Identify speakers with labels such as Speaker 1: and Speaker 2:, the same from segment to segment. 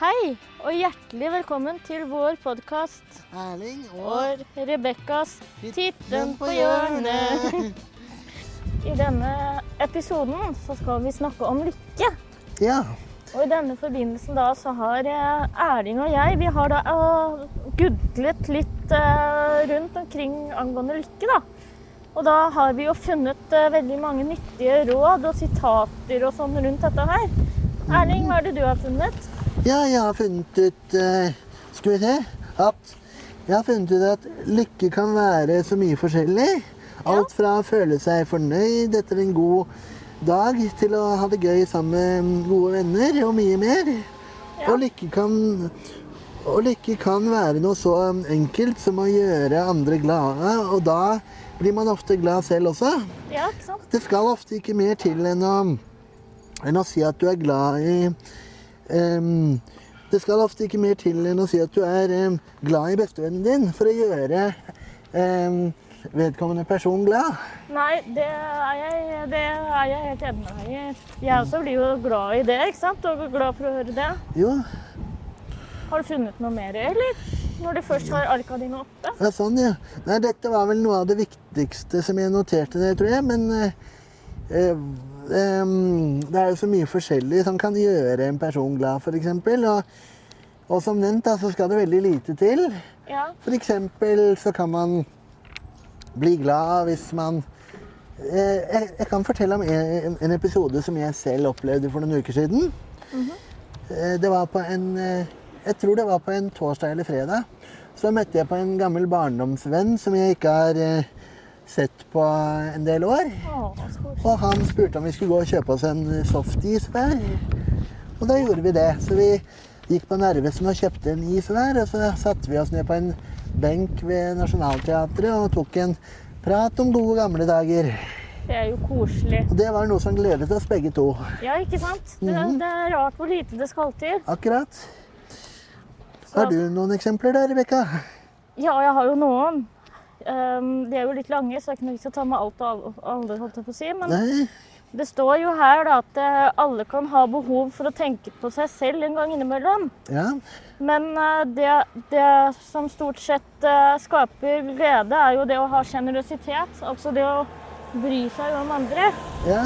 Speaker 1: Hei, og hjertelig velkommen til vår podkast
Speaker 2: Erling og
Speaker 1: og Rebekkas Tipp den på hjørnet.
Speaker 2: hjørnet.
Speaker 1: I denne episoden så skal vi snakke om lykke.
Speaker 2: ja.
Speaker 1: Og i denne forbindelsen da så har eh, Erling og jeg vi har da eh, googlet litt eh, rundt omkring angående lykke, da. Og da har vi jo funnet eh, veldig mange nyttige råd og sitater og sånn rundt dette her. Erling, hva er det du har funnet?
Speaker 2: ja, jeg har funnet ut eh, Skal vi se at Jeg har funnet ut at lykke kan være så mye forskjellig. Alt fra å føle seg fornøyd etter en god dag, til å ha det gøy sammen med gode venner, og mye mer.
Speaker 1: Ja.
Speaker 2: Og lykke kan og lykke kan være noe så enkelt som å gjøre andre glade, og da blir man ofte glad selv også.
Speaker 1: Ja, ikke sant?
Speaker 2: Det skal ofte ikke mer til enn å, enn å si at du er glad i em, Det skal ofte ikke mer til enn å si at du er em, glad i bestevennen din for å gjøre em, vedkommende person glad.
Speaker 1: Nei, det er jeg, det er jeg helt enig med deg i. Jeg også blir jo glad i det, ikke sant? Og glad for å høre det.
Speaker 2: Jo,
Speaker 1: Har du funnet noe mer, eller? Når du først har arka dine oppe?
Speaker 2: ja, sånn, ja. Nei, dette var vel noe av det viktigste som jeg noterte det, tror jeg. Men eh, eh, em, det er jo så mye forskjellig som kan gjøre en person glad, f.eks. Og, og som nevnt, da, så skal det veldig lite til.
Speaker 1: Ja.
Speaker 2: For eksempel så kan man bli glad hvis man Eh, Jeg, jeg kan fortelle om en, en episode som jeg selv opplevde for noen uker siden. Eh, Det var på en eh, Jeg tror det var på en torsdag eller fredag. Så møtte jeg på en gammel barndomsvenn som jeg ikke har eh, sett på en del år.
Speaker 1: Å, så koselig.
Speaker 2: Og han spurte om vi skulle gå og kjøpe oss en softis hver. Og da gjorde vi det. Så vi gikk på Nervesen og kjøpte en is hver. Og så satte vi oss ned på en benk ved Nationaltheatret og tok en prat om gode gamle dager.
Speaker 1: Det er jo koselig.
Speaker 2: Og det var noe som gledet oss begge to.
Speaker 1: Ja, ikke sant? Det, det er rart hvor lite det skal til.
Speaker 2: Akkurat.
Speaker 1: Så-
Speaker 2: Har du noen eksempler der, Rebekka?
Speaker 1: Ja, jeg har jo noen. Ehm, de er jo litt lange, så det er ikke noe vits å ta med alt og alle- alle, holdt jeg på å si. Men
Speaker 2: Nei?
Speaker 1: det står jo her da, at eh, alle kan ha behov for å tenke på seg selv en gang innimellom.
Speaker 2: Ja.
Speaker 1: Men eh, det, det som stort sett eh, skaper glede, er jo det å ha sjenerøsitet. Altså det å bry seg om andre.
Speaker 2: Ja.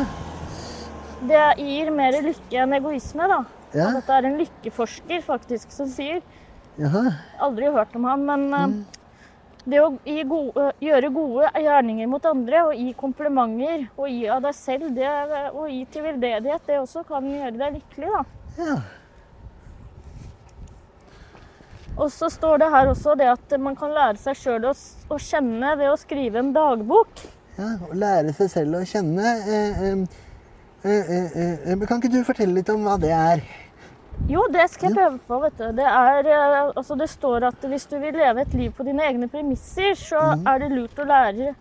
Speaker 1: Det gir mer lykke enn egoisme, da.
Speaker 2: Ja.
Speaker 1: Og dette er en lykkeforsker faktisk som sier.
Speaker 2: Jaha.
Speaker 1: Aldri hørt om han, men eh, det å gi gode, gjøre gode gjerninger mot andre og gi komplimenter og gi av deg selv det, eh, og gi til veldedighet, det også kan gjøre deg lykkelig, da.
Speaker 2: Ja.
Speaker 1: Og så står det her også det at man kan lære seg sjøl å, s- å kjenne ved å skrive en dagbok.
Speaker 2: Ja, å lære seg selv å kjenne. Eh, eh, eh, eh, eh, men kan ikke du fortelle litt om hva det er?
Speaker 1: Jo, det skal jeg prøve på, vet du. Det, er, eh, altså det står at hvis du vil leve et liv på dine egne premisser, så er det lurt å lære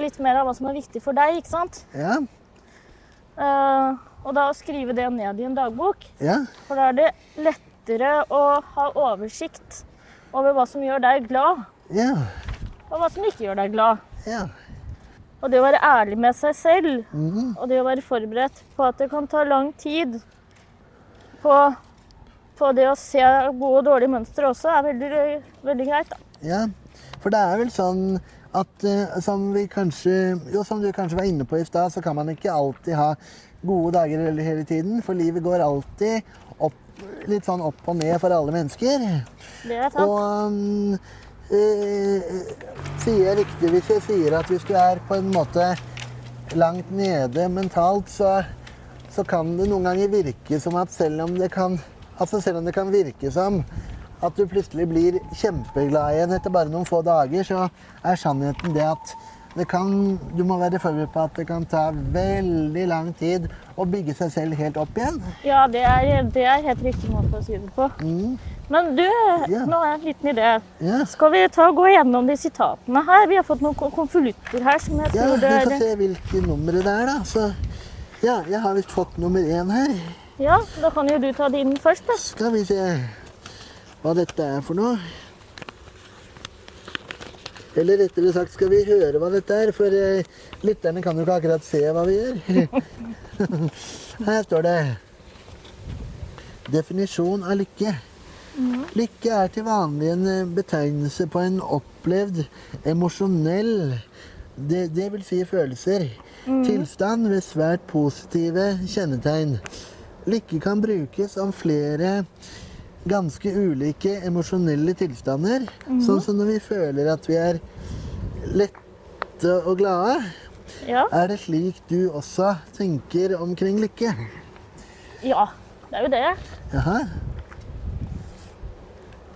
Speaker 1: litt mer av hva som er viktig for deg, ikke sant?
Speaker 2: Ja,
Speaker 1: Eh, og da å skrive det ned i en dagbok,
Speaker 2: ja,
Speaker 1: for da er det lettere å ha oversikt over hva som gjør deg glad,
Speaker 2: ja,
Speaker 1: og hva som ikke gjør deg glad.
Speaker 2: ja.
Speaker 1: Og det å være ærlig med seg selv
Speaker 2: Mhm.
Speaker 1: Og det å være forberedt på at det kan ta lang tid på, på det å se gode og dårlige mønstre også, er veldig, veldig greit. Da.
Speaker 2: ja. For det er vel sånn at eh, som vi kanskje Jo, som du kanskje var inne på i stad, så kan man ikke alltid ha gode dager hele- hele tiden. For livet går alltid opp, litt sånn opp og ned for alle mennesker.
Speaker 1: Det er sant.
Speaker 2: Og mm, eh, sier jeg riktig hvis jeg sier at hvis du er på en måte langt nede mentalt, så, så kan det noen ganger virke som at selv om det kan Altså selv om det kan virke som at du plutselig blir kjempeglad igjen etter bare noen få dager, så er sannheten det at det kan, du må være forberedt på at det kan ta veldig lang tid å bygge seg selv helt opp igjen.
Speaker 1: Ja, det er, det er helt riktig måte å si det på.
Speaker 2: Mm,
Speaker 1: Men du,
Speaker 2: Ja.
Speaker 1: nå har jeg en liten idé.
Speaker 2: ja.
Speaker 1: Skal vi ta og gå gjennom de sitatene her? Vi har fått noen kon- konvolutter her som jeg
Speaker 2: Ja,
Speaker 1: tror
Speaker 2: vi får
Speaker 1: det er
Speaker 2: se hvilke numre det er, da. Så, ja, jeg har visst fått nummer én her.
Speaker 1: Ja, da kan jo du ta din først, da.
Speaker 2: Skal vi se hva dette er for noe. Eller rettere sagt, skal vi høre hva dette er? For eh, lytterne kan jo ikke akkurat se hva vi gjør. Her står det definisjon av lykke. Lykke er til vanlig en eh, betegnelse på en opplevd, emosjonell, det, det vil si følelser, tilstand ved svært positive kjennetegn. Lykke kan brukes om flere ganske ulike emosjonelle tilstander, sånn som når vi føler at vi er lette og glade.
Speaker 1: Ja.
Speaker 2: Er det slik du også tenker omkring lykke?
Speaker 1: ja. Det er jo det.
Speaker 2: Jaha.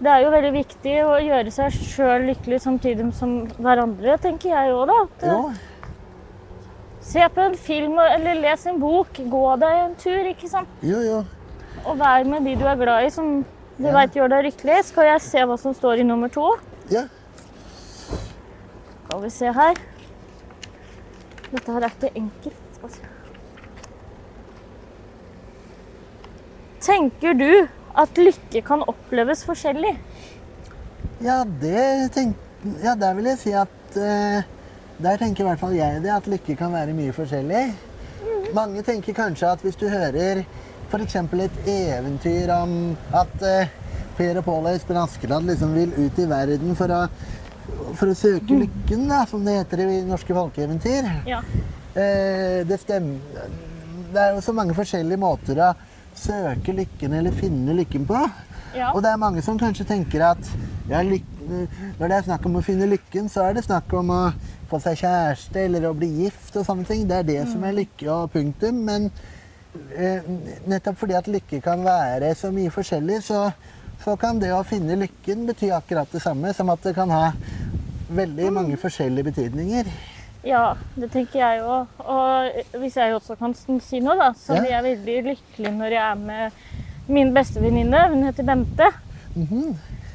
Speaker 1: Det er jo veldig viktig å gjøre seg sjøl lykkelig samtidig som hverandre, tenker jeg òg, da. At,
Speaker 2: Jo.
Speaker 1: Se på en film eller les en bok. Gå deg en tur, ikke sant.
Speaker 2: Jo, jo.
Speaker 1: Og vær med de du er glad i, som du
Speaker 2: Ja.
Speaker 1: veit gjør deg lykkelig. Skal jeg se hva som står i nummer to?
Speaker 2: Ja.
Speaker 1: Skal vi se her. Dette her er ikke enkelt. Skal vi se. Tenker du at lykke kan oppleves forskjellig?
Speaker 2: Ja, det tenk, ja, der vil jeg si at eh, Der tenker i hvert fall jeg det, at lykke kan være mye forskjellig. Mange tenker kanskje at hvis du hører f.eks. et eventyr om at eh, Per og Pål og Espen Askeladd liksom vil ut i verden for å, for å søke lykken, da, som det heter i norske folkeeventyr.
Speaker 1: Ja.
Speaker 2: Eh, det stemmer Det er jo så mange forskjellige måter å søke lykken eller finne lykken på.
Speaker 1: Ja.
Speaker 2: Og det er mange som kanskje tenker at ja, lyk når det er snakk om å finne lykken, så er det snakk om å få seg kjæreste eller å bli gift og sånne ting. Det er det som er lykke og punktum. Men eh, nettopp fordi at lykke kan være så mye forskjellig, så, så kan det å finne lykken bety akkurat det samme som at det kan ha veldig mange forskjellige betydninger.
Speaker 1: Ja, det tenker jeg òg. Og hvis jeg også kan s- si noe, da, så
Speaker 2: Ja.
Speaker 1: blir jeg veldig lykkelig når jeg er med min bestevenninne. Hun heter Bente.
Speaker 2: Mhm.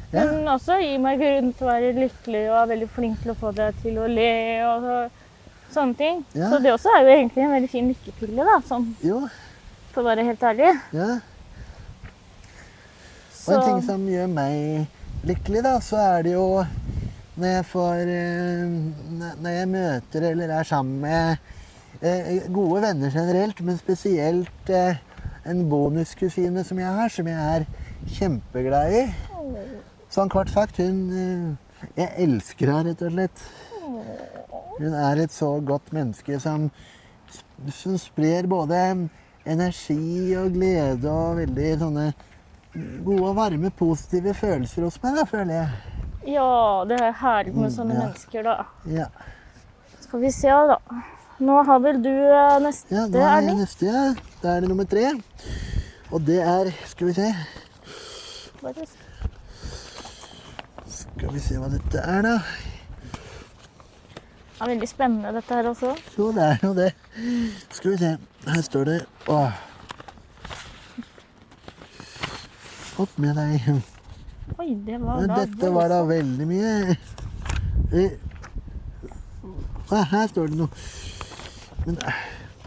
Speaker 2: Ja.
Speaker 1: Hun også gir meg grunn til å være lykkelig og er veldig flink til å få deg til å le og så- sånne ting.
Speaker 2: Ja.
Speaker 1: Så det også er jo egentlig en veldig fin lykkepille, da, sånn,
Speaker 2: Jo,
Speaker 1: for å være helt ærlig.
Speaker 2: ja. Og en ting
Speaker 1: Så,
Speaker 2: som gjør meg lykkelig, da, så er det jo når jeg får eh, n- Når jeg møter eller er sammen med eh, gode venner generelt, men spesielt eh, en bonuskusine som jeg har, som jeg er kjempeglad i. Sånn kort sagt, hun eh, Jeg elsker henne, rett og slett. Hun er et så godt menneske som, som sprer både energi og glede og veldig sånne gode og varme, positive følelser hos meg, da, føler jeg.
Speaker 1: ja, det er herlig med sånne
Speaker 2: Mm, ja.
Speaker 1: mennesker, da.
Speaker 2: Ja,
Speaker 1: Skal vi se, da. Nå har vel du eh, neste,
Speaker 2: ja da er det
Speaker 1: Erling?
Speaker 2: neste. Ja. Da er det nummer tre. Og det er Skal vi se
Speaker 1: Bare-
Speaker 2: Skal vi se hva dette er, da.
Speaker 1: Det er veldig spennende, dette her også.
Speaker 2: Jo, det er jo det. Skal vi se. Her står det Åh. Opp med deg.
Speaker 1: Oi, det var
Speaker 2: Men
Speaker 1: da
Speaker 2: dette var da veldig mye. Eh, ah, Her står det noe. Men eh,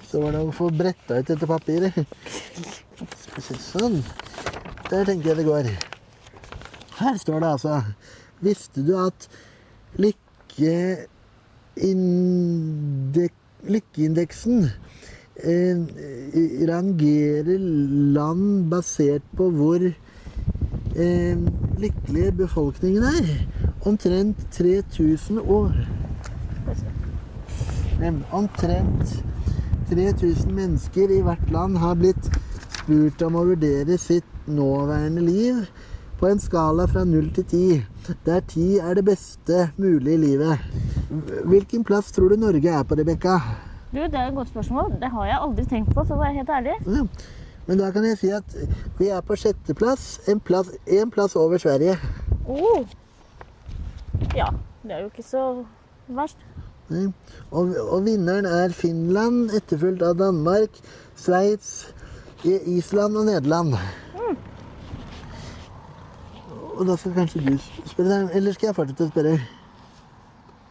Speaker 2: så var det å få bretta ut dette papiret. Skal vi se, Sånn. Der tenker jeg det går. Her står det altså Visste du at lykke... Indek, lykkeindeksen eh, rangerer land basert på hvor eh, lykkelige befolkningen er. Omtrent 3000 år. Em, Omtrent 3000 mennesker i hvert land har blitt spurt om å vurdere sitt nåværende liv på en skala fra 0 til 10, der 10 er det beste mulige livet. Hvilken plass tror du Norge er på, Rebekka?
Speaker 1: Du, det er et godt spørsmål. Det har jeg aldri tenkt på, for å være helt ærlig.
Speaker 2: Ja. Men da kan jeg si at vi er på sjetteplass, en plass, en plass over Sverige.
Speaker 1: Oh. Ja, det er jo ikke så verst.
Speaker 2: Nei. Og, og vinneren er Finland, etterfulgt av Danmark, Sveits, I- Island og Nederland. Og da skal kanskje du spørre, deg, eller skal jeg fortsette å spørre?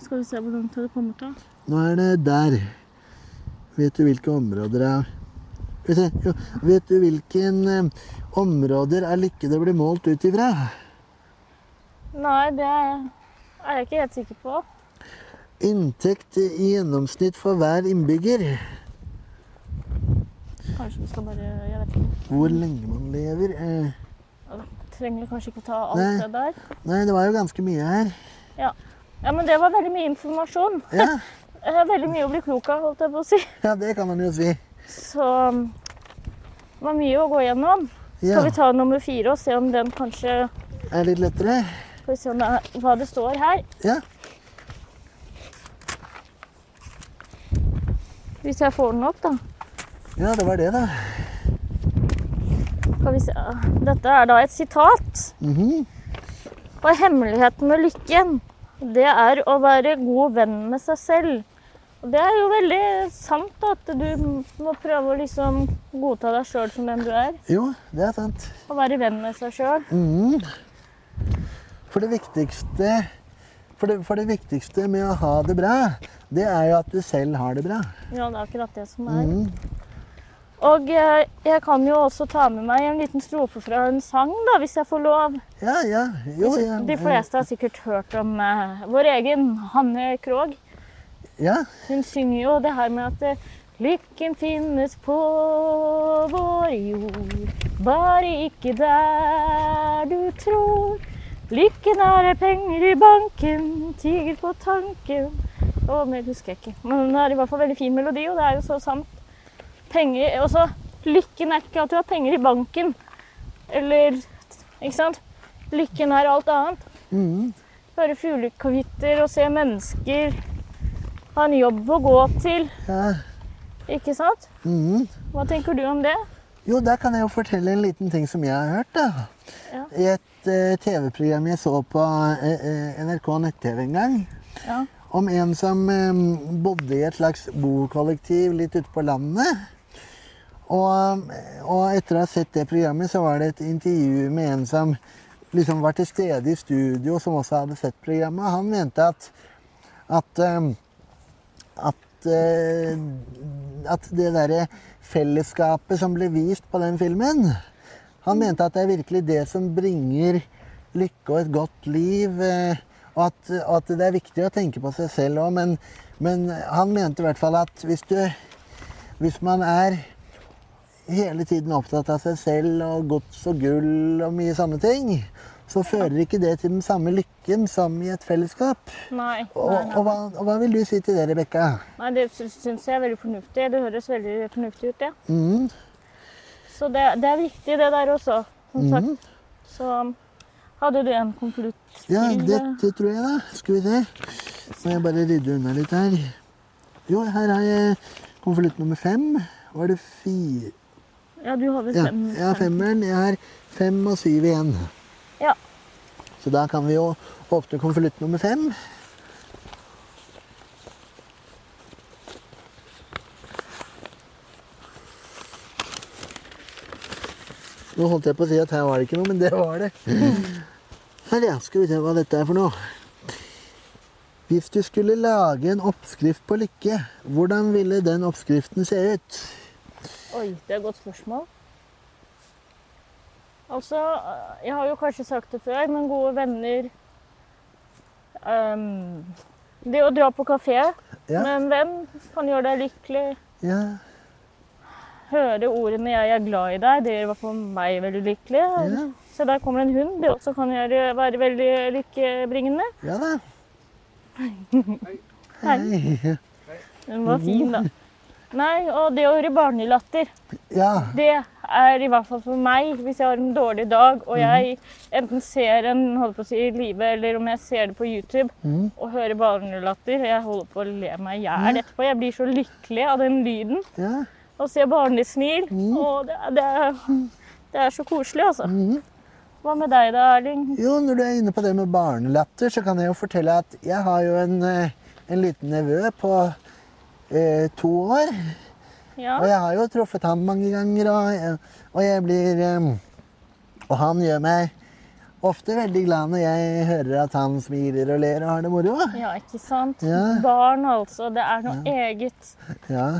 Speaker 1: Skal vi se hvor langt det kommer til.
Speaker 2: Nå er det der. Vet du hvilke områder av Skal vi se, jo, Vet du hvilken eh, områder av lykke det blir målt ut ifra?
Speaker 1: Nei, det er jeg ikke helt sikker på.
Speaker 2: Inntekt i gjennomsnitt for hver innbygger.
Speaker 1: Kanskje du skal bare Jeg vet ikke.
Speaker 2: Hvor lenge man lever eh,
Speaker 1: Trenger kanskje ikke ta alt
Speaker 2: Nei.
Speaker 1: det der.
Speaker 2: Nei, det var jo ganske mye her.
Speaker 1: Ja. ja, men det var veldig mye informasjon.
Speaker 2: Ja,
Speaker 1: Eh, Veldig mye å bli klok av, holdt jeg på å si.
Speaker 2: ja det kan man jo si.
Speaker 1: Så um, det var mye å gå gjennom.
Speaker 2: Ja,
Speaker 1: Skal vi ta nummer fire og se om den kanskje
Speaker 2: er litt lettere?
Speaker 1: Skal vi se om det er, hva det står her.
Speaker 2: Ja.
Speaker 1: Hvis jeg får den opp, da.
Speaker 2: ja, det var det, da.
Speaker 1: Skal vi se. Dette er da et sitat.
Speaker 2: Mhm.
Speaker 1: Og hemmeligheten med lykken, det er å være god venn med seg selv. Og det er jo veldig sant da, at du må prøve å liksom godta deg sjøl som den du er.
Speaker 2: Jo, det er sant.
Speaker 1: Og være venn med seg sjøl.
Speaker 2: Mhm. For det viktigste for det, for det viktigste med å ha det bra, det er jo at du selv har det bra.
Speaker 1: Ja, det er akkurat det som er.
Speaker 2: Mhm.
Speaker 1: Og eh, jeg kan jo også ta med meg en liten strofe fra en sang, da, hvis jeg får lov.
Speaker 2: Ja, ja. Jo, ja.
Speaker 1: De fleste har sikkert hørt om eh, vår egen Hanne Krogh.
Speaker 2: Ja,
Speaker 1: Hun synger jo det her med at eh, Lykken finnes på vår jord, bare ikke der du tror. Lykken er penger i banken, tiger på tanken Å, mer husker jeg ikke. Men det er i hvert fall veldig fin melodi, og det er jo så sant. Penger Og så lykken er ikke at du har penger i banken, eller Ikke sant? Lykken er alt annet.
Speaker 2: mhm.
Speaker 1: Høre fuglekvitter og se mennesker. Ha en jobb å gå til,
Speaker 2: ja.
Speaker 1: ikke sant?
Speaker 2: mhm.
Speaker 1: Hva tenker du om det?
Speaker 2: Jo, der kan jeg jo fortelle en liten ting som jeg har hørt, da.
Speaker 1: Ja.
Speaker 2: I et eh, TV-program jeg så på eh, eh, NRK nett-TV en gang,
Speaker 1: Ja.
Speaker 2: om en som eh, bodde i et slags bokollektiv litt ute på landet. Og, og etter å ha sett det programmet, så var det et intervju med en som liksom var til stede i studio, som også hadde sett programmet. Han mente at at, eh, at eh, at det derre fellesskapet som ble vist på den filmen Han mente at det er virkelig det som bringer lykke og et godt liv. eh, Og at, og at det er viktig å tenke på seg selv òg, men, men han mente i hvert fall at hvis du Hvis man er hele tiden opptatt av seg selv og gods og gull og mye sånne ting, så fører ikke det til den samme lykken som i et fellesskap.
Speaker 1: Nei.
Speaker 2: Og,
Speaker 1: Nei,
Speaker 2: og,
Speaker 1: nei.
Speaker 2: hva, og hva vil du si til det, Rebekka?
Speaker 1: nei det sy- syns jeg er veldig fornuftig. Det høres veldig fornuftig ut, det.
Speaker 2: Mhm.
Speaker 1: Så det, det er viktig, det der også, som
Speaker 2: mm.
Speaker 1: sagt. Så hadde du en konvolutt
Speaker 2: Mhm. Ja,
Speaker 1: til,
Speaker 2: det,
Speaker 1: eh,
Speaker 2: det tror jeg, da. Skal vi se. Må jeg bare rydde unna litt her. Jo, her har jeg konvolutt nummer fem. Var det fire
Speaker 1: Ja, du har vel
Speaker 2: Ja,
Speaker 1: fem?
Speaker 2: jeg har femmeren. Jeg har fem og syv igjen.
Speaker 1: Ja.
Speaker 2: Så da kan vi jo åpne konvolutt nummer fem. Nå holdt jeg på å si at her var det ikke noe, men det var det. Her, ja. Skal vi se hva dette er for noe. Hvis du skulle lage en oppskrift på lykke, hvordan ville den oppskriften se ut?
Speaker 1: Oi, det er et godt spørsmål. Altså, øh, jeg har jo kanskje sagt det før, men gode venner ehm, Det å dra på kafé
Speaker 2: Ja.
Speaker 1: med en venn kan gjøre deg lykkelig.
Speaker 2: Ja,
Speaker 1: Høre ordene 'jeg er glad i deg', det gjør i hvert fall meg veldig lykkelig.
Speaker 2: Ja.
Speaker 1: Se, der kommer en hund. Det også kan gjøre, være veldig lykkebringende.
Speaker 2: ja da.
Speaker 1: Nei,
Speaker 2: Hei.
Speaker 1: den
Speaker 2: Mm.
Speaker 1: var fin, da. Nei, og det å høre barnelatter.
Speaker 2: Ja.
Speaker 1: Det er i hvert fall for meg, hvis jeg har en dårlig dag
Speaker 2: Mhm.
Speaker 1: og jeg enten ser en holder på å si, i live, eller om jeg ser det på YouTube
Speaker 2: Mhm.
Speaker 1: og hører barnelatter Jeg holder på å le meg i hjel etterpå. Jeg blir så lykkelig av den lyden.
Speaker 2: Ja.
Speaker 1: Og ser barnesmil. Og det, er- det, er- det er så koselig, altså.
Speaker 2: Mhm.
Speaker 1: Hva med deg da, Erling?
Speaker 2: Jo, når du er inne på det med barnelatter, så kan jeg jo fortelle at jeg har jo en, eh, en liten nevø på eh, to år. Og
Speaker 1: Ja.
Speaker 2: jeg har jo truffet han mange ganger, og, jeg- og jeg blir eh, Og han gjør meg ofte veldig glad når jeg hører at han smiler og ler og har det moro.
Speaker 1: ja, ikke sant?
Speaker 2: Ja.
Speaker 1: Barn, altså. Det er noe eget.
Speaker 2: Ja.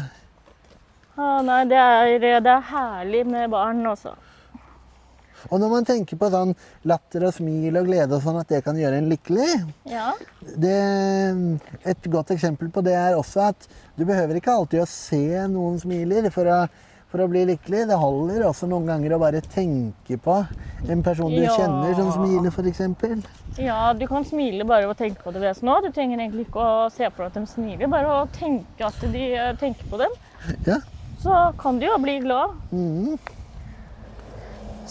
Speaker 1: Å, nei, det er, det er herlig med barn, altså.
Speaker 2: Og når man tenker på sånn latter og smil og glede og sånn, at det kan gjøre en lykkelig,
Speaker 1: Ja.
Speaker 2: det, et godt eksempel på det er også at du behøver ikke alltid å se noen smiler for å, for å bli lykkelig. Det holder også noen ganger å bare tenke på en person du
Speaker 1: Ja.
Speaker 2: kjenner som smiler, f.eks.
Speaker 1: Ja, du kan smile bare ved å tenke på det ved nå. Du trenger egentlig ikke å se for deg at de smiler, bare å tenke at de eh, tenker på dem.
Speaker 2: Ja.
Speaker 1: Så kan du jo bli glad.
Speaker 2: Mhm.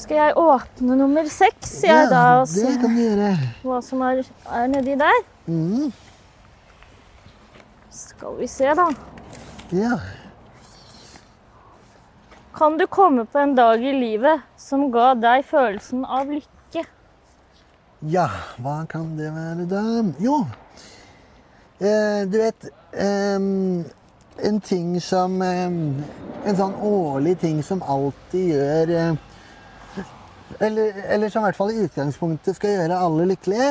Speaker 1: Skal jeg åpne nummer seks, jeg da,
Speaker 2: ja,
Speaker 1: og
Speaker 2: det
Speaker 1: se
Speaker 2: kan du gjøre.
Speaker 1: hva som er, er nedi der?
Speaker 2: Mhm.
Speaker 1: Skal vi se, da.
Speaker 2: Ja.
Speaker 1: Kan du komme på en dag i livet som ga deg følelsen av lykke?
Speaker 2: ja, hva kan det være da? Jo, eh, du vet em, En ting som em, En sånn årlig ting som alltid gjør eh, eller, eller som i hvert fall i utgangspunktet skal gjøre alle lykkelige.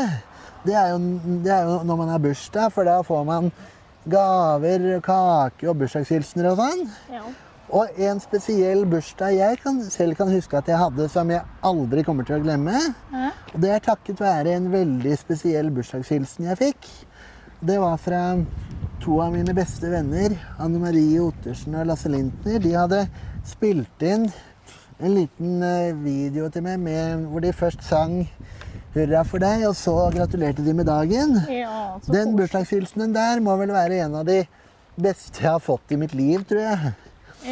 Speaker 2: Det er, jo, det er jo når man har bursdag, for da får man gaver, kake og bursdagshilsener og sånn.
Speaker 1: Ja.
Speaker 2: Og en spesiell bursdag jeg kan, selv kan huske at jeg hadde, som jeg aldri kommer til å glemme.
Speaker 1: Ja.
Speaker 2: Og det er takket være en veldig spesiell bursdagshilsen jeg fikk. Det var fra to av mine beste venner, Anne Marie Ottersen og Lasse Lintner. De hadde spilt inn en liten eh, video til meg med, hvor de først sang 'Hurra for deg', og så gratulerte de med dagen.
Speaker 1: ja så
Speaker 2: Den
Speaker 1: kos-
Speaker 2: bursdagshilsenen der må vel være en av de beste jeg har fått i mitt liv, tror jeg.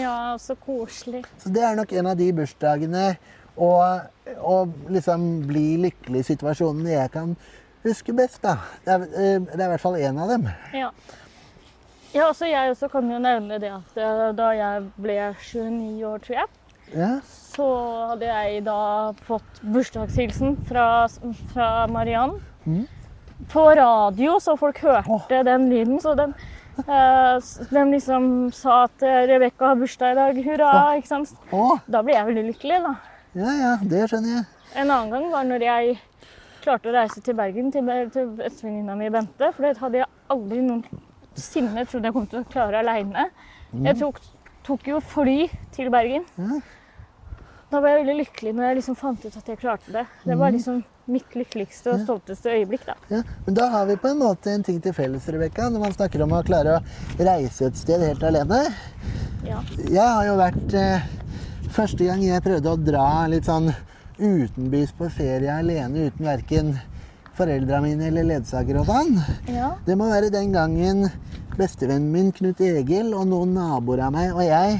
Speaker 1: Ja, så koselig.
Speaker 2: Så det er nok en av de bursdagene og, og liksom bli lykkelig-situasjonen jeg kan huske best, da. Det er, eh, det er i hvert fall en av dem.
Speaker 1: Ja. Ja, også jeg også kan jo nevne det at eh, da jeg ble 29 år, tror jeg,
Speaker 2: Ja,
Speaker 1: så hadde jeg da fått bursdagshilsen fra, fra Mariann.
Speaker 2: Mhm.
Speaker 1: På radio, så folk hørte
Speaker 2: Åh.
Speaker 1: den lyden. Så de, eh, s- de liksom sa at eh, Rebekka har bursdag i dag, hurra! ikke sant?
Speaker 2: Å,
Speaker 1: Da ble jeg veldig lykkelig, da.
Speaker 2: ja, ja, det skjønner jeg.
Speaker 1: En annen gang var når jeg klarte å reise til Bergen til, til bestevenninna mi Bente. For det hadde jeg aldri noensinne trodd jeg kom til å klare aleine. Jeg tok, tok jo fly til Bergen.
Speaker 2: Ja.
Speaker 1: Da var jeg veldig lykkelig når jeg liksom fant ut at jeg klarte det. Det var liksom mitt lykkeligste og stolteste øyeblikk, da.
Speaker 2: Ja. Men da har vi på en måte en ting til felles, Rebekka, når man snakker om å klare å reise et sted helt alene.
Speaker 1: Ja.
Speaker 2: Jeg har jo vært eh, Første gang jeg prøvde å dra litt sånn utenbys på ferie alene uten verken foreldra mine eller ledsager og sånn.
Speaker 1: ja.
Speaker 2: Det må være den gangen bestevennen min Knut Egil og noen naboer av meg og jeg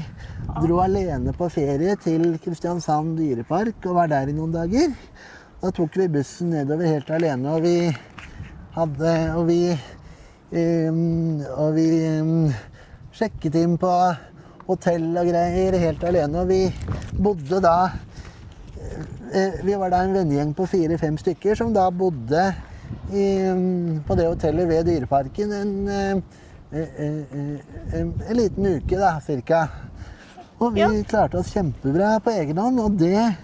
Speaker 2: dro alene på ferie til Kristiansand dyrepark og var der i noen dager. Da tok vi bussen nedover helt alene, og vi hadde Og vi, ehm, og vi ehm, sjekket inn på hotell og greier helt alene, og vi bodde da Eh, Vi var da en vennegjeng på fire-fem stykker som da bodde i, mm, på det hotellet ved Dyreparken en, eh, eh, eh, eh, en liten uke, da, cirka. Og vi
Speaker 1: Ja.
Speaker 2: klarte oss kjempebra på egen hånd, og det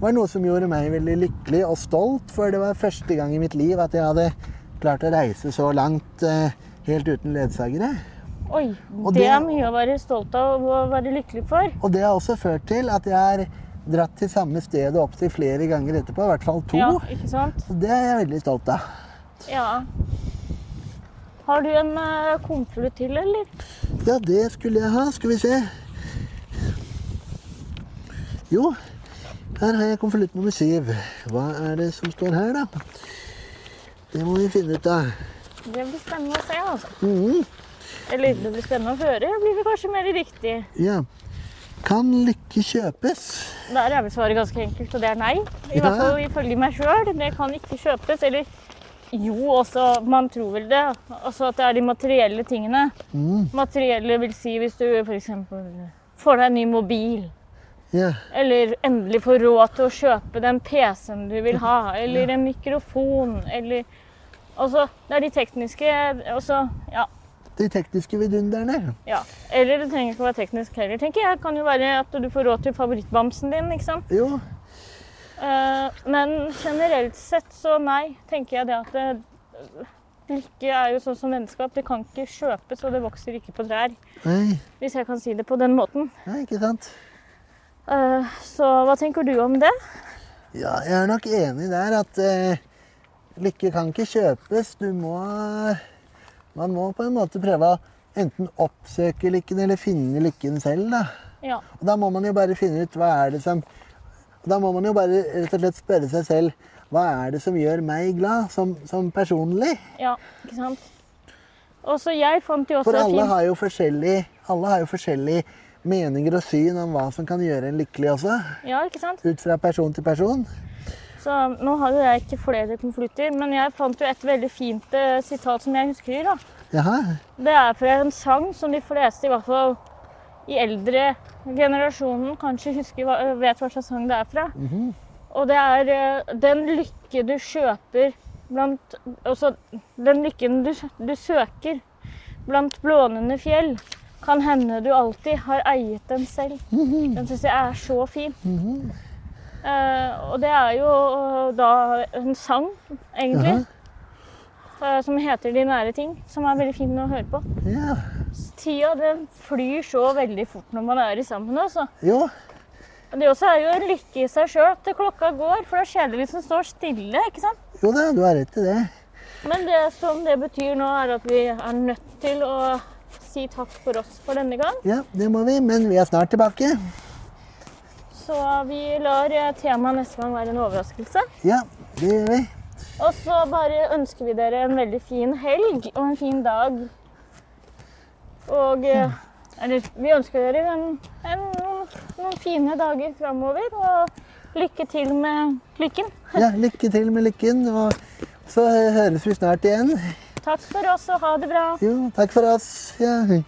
Speaker 2: var noe som gjorde meg veldig lykkelig og stolt, for det var første gang i mitt liv at jeg hadde klart å reise så langt eh, helt uten ledsagere.
Speaker 1: Oi,
Speaker 2: Og
Speaker 1: det
Speaker 2: det-
Speaker 1: er mye å være stolt av og være lykkelig for.
Speaker 2: Og det har også ført til at jeg har dratt til samme sted og opptil flere ganger etterpå, i hvert fall to.
Speaker 1: Ja, ikke sant?
Speaker 2: Så det er jeg veldig stolt av.
Speaker 1: Ja. Har du en eh, konvolutt til, eller?
Speaker 2: Ja, det skulle jeg ha. Skal vi se. Jo, her har jeg konvolutt nummer syv. Hva er det som står her, da? Det må vi finne ut av.
Speaker 1: Det blir spennende å se, altså.
Speaker 2: Mhm.
Speaker 1: Eller det blir spennende å høre, blir det kanskje mer riktig.
Speaker 2: Ja. Kan lykke kjøpes?
Speaker 1: Der er vel svaret ganske enkelt, og det er nei. I
Speaker 2: Ja.
Speaker 1: hvert fall ifølge meg sjøl. Det kan ikke kjøpes. Eller jo, også, man tror vel det. Altså at det er de materielle tingene.
Speaker 2: Mhm.
Speaker 1: Materielle vil si hvis du f.eks. får deg en ny mobil.
Speaker 2: Ja.
Speaker 1: Eller endelig får råd til å kjøpe den PC-en du vil ha, eller en mikrofon, eller Altså, det er de tekniske også, ja,
Speaker 2: De tekniske vidunderne.
Speaker 1: ja. Eller det trenger ikke å være teknisk heller, tenker jeg. Det kan jo være at du får råd til favorittbamsen din, ikke sant.
Speaker 2: Jo.
Speaker 1: Eh, men generelt sett så nei, tenker jeg det at det, lykke er jo sånn som vennskap. Det kan ikke kjøpes, og det vokser ikke på trær.
Speaker 2: Nei,
Speaker 1: Hvis jeg kan si det på den måten.
Speaker 2: Nei ikke sant?
Speaker 1: Eh, så hva tenker du om det?
Speaker 2: Ja, jeg er nok enig der at eh, lykke kan ikke kjøpes. Du må Man må på en måte prøve å enten oppsøke lykken eller finne lykken selv, da.
Speaker 1: Ja.
Speaker 2: Og da må man jo bare finne ut hva er det som og Da må man jo bare rett og slett spørre seg selv hva er det som gjør meg glad, som, som personlig?
Speaker 1: ja ikke sant? Og så jeg fant jo også
Speaker 2: For alle
Speaker 1: fint-
Speaker 2: har jo forskjellig alle har jo forskjellige meninger og syn om hva som kan gjøre en lykkelig også.
Speaker 1: Ja, ikke sant?
Speaker 2: Ut fra person til person.
Speaker 1: Så nå har jo jeg ikke flere konvolutter, men jeg fant jo et veldig fint eh, sitat som jeg husker. da.
Speaker 2: Jaha.
Speaker 1: Det er fra en sang som de fleste, i hvert fall i eldre generasjonen, kanskje husker, hva- vet hva slags sang det er fra. Og det er eh, 'Den lykke du kjøper blant Altså, den lykken du, du søker blant blånende fjell, kan hende du alltid har eiet den selv. Den syns jeg er så fin. Eh, og det er jo eh, da en sang, egentlig, eh, som heter 'De nære ting', som er veldig fin å høre på.
Speaker 2: Ja.
Speaker 1: Tida den flyr så veldig fort når man er i sammen. altså.
Speaker 2: Jo.
Speaker 1: Og Det også er jo en lykke i seg sjøl til klokka går, for det er kjedelig hvis den står stille. ikke sant?
Speaker 2: Jo da, du har rett i det.
Speaker 1: Men det som det betyr nå, er at vi er nødt til å si takk for oss for denne gang.
Speaker 2: Ja, det må vi. Men vi er snart tilbake.
Speaker 1: Så vi lar eh, temaet neste gang være en overraskelse.
Speaker 2: Ja, det gjør vi.
Speaker 1: Og så bare ønsker vi dere en veldig fin helg og en fin dag. Og eh, Eller vi ønsker dere en, en, noen, noen fine dager framover. Og lykke til med lykken.
Speaker 2: Ja, lykke til med lykken. Og så høres vi snart igjen.
Speaker 1: Takk for oss, og ha det bra.
Speaker 2: Jo, takk for oss. Ja.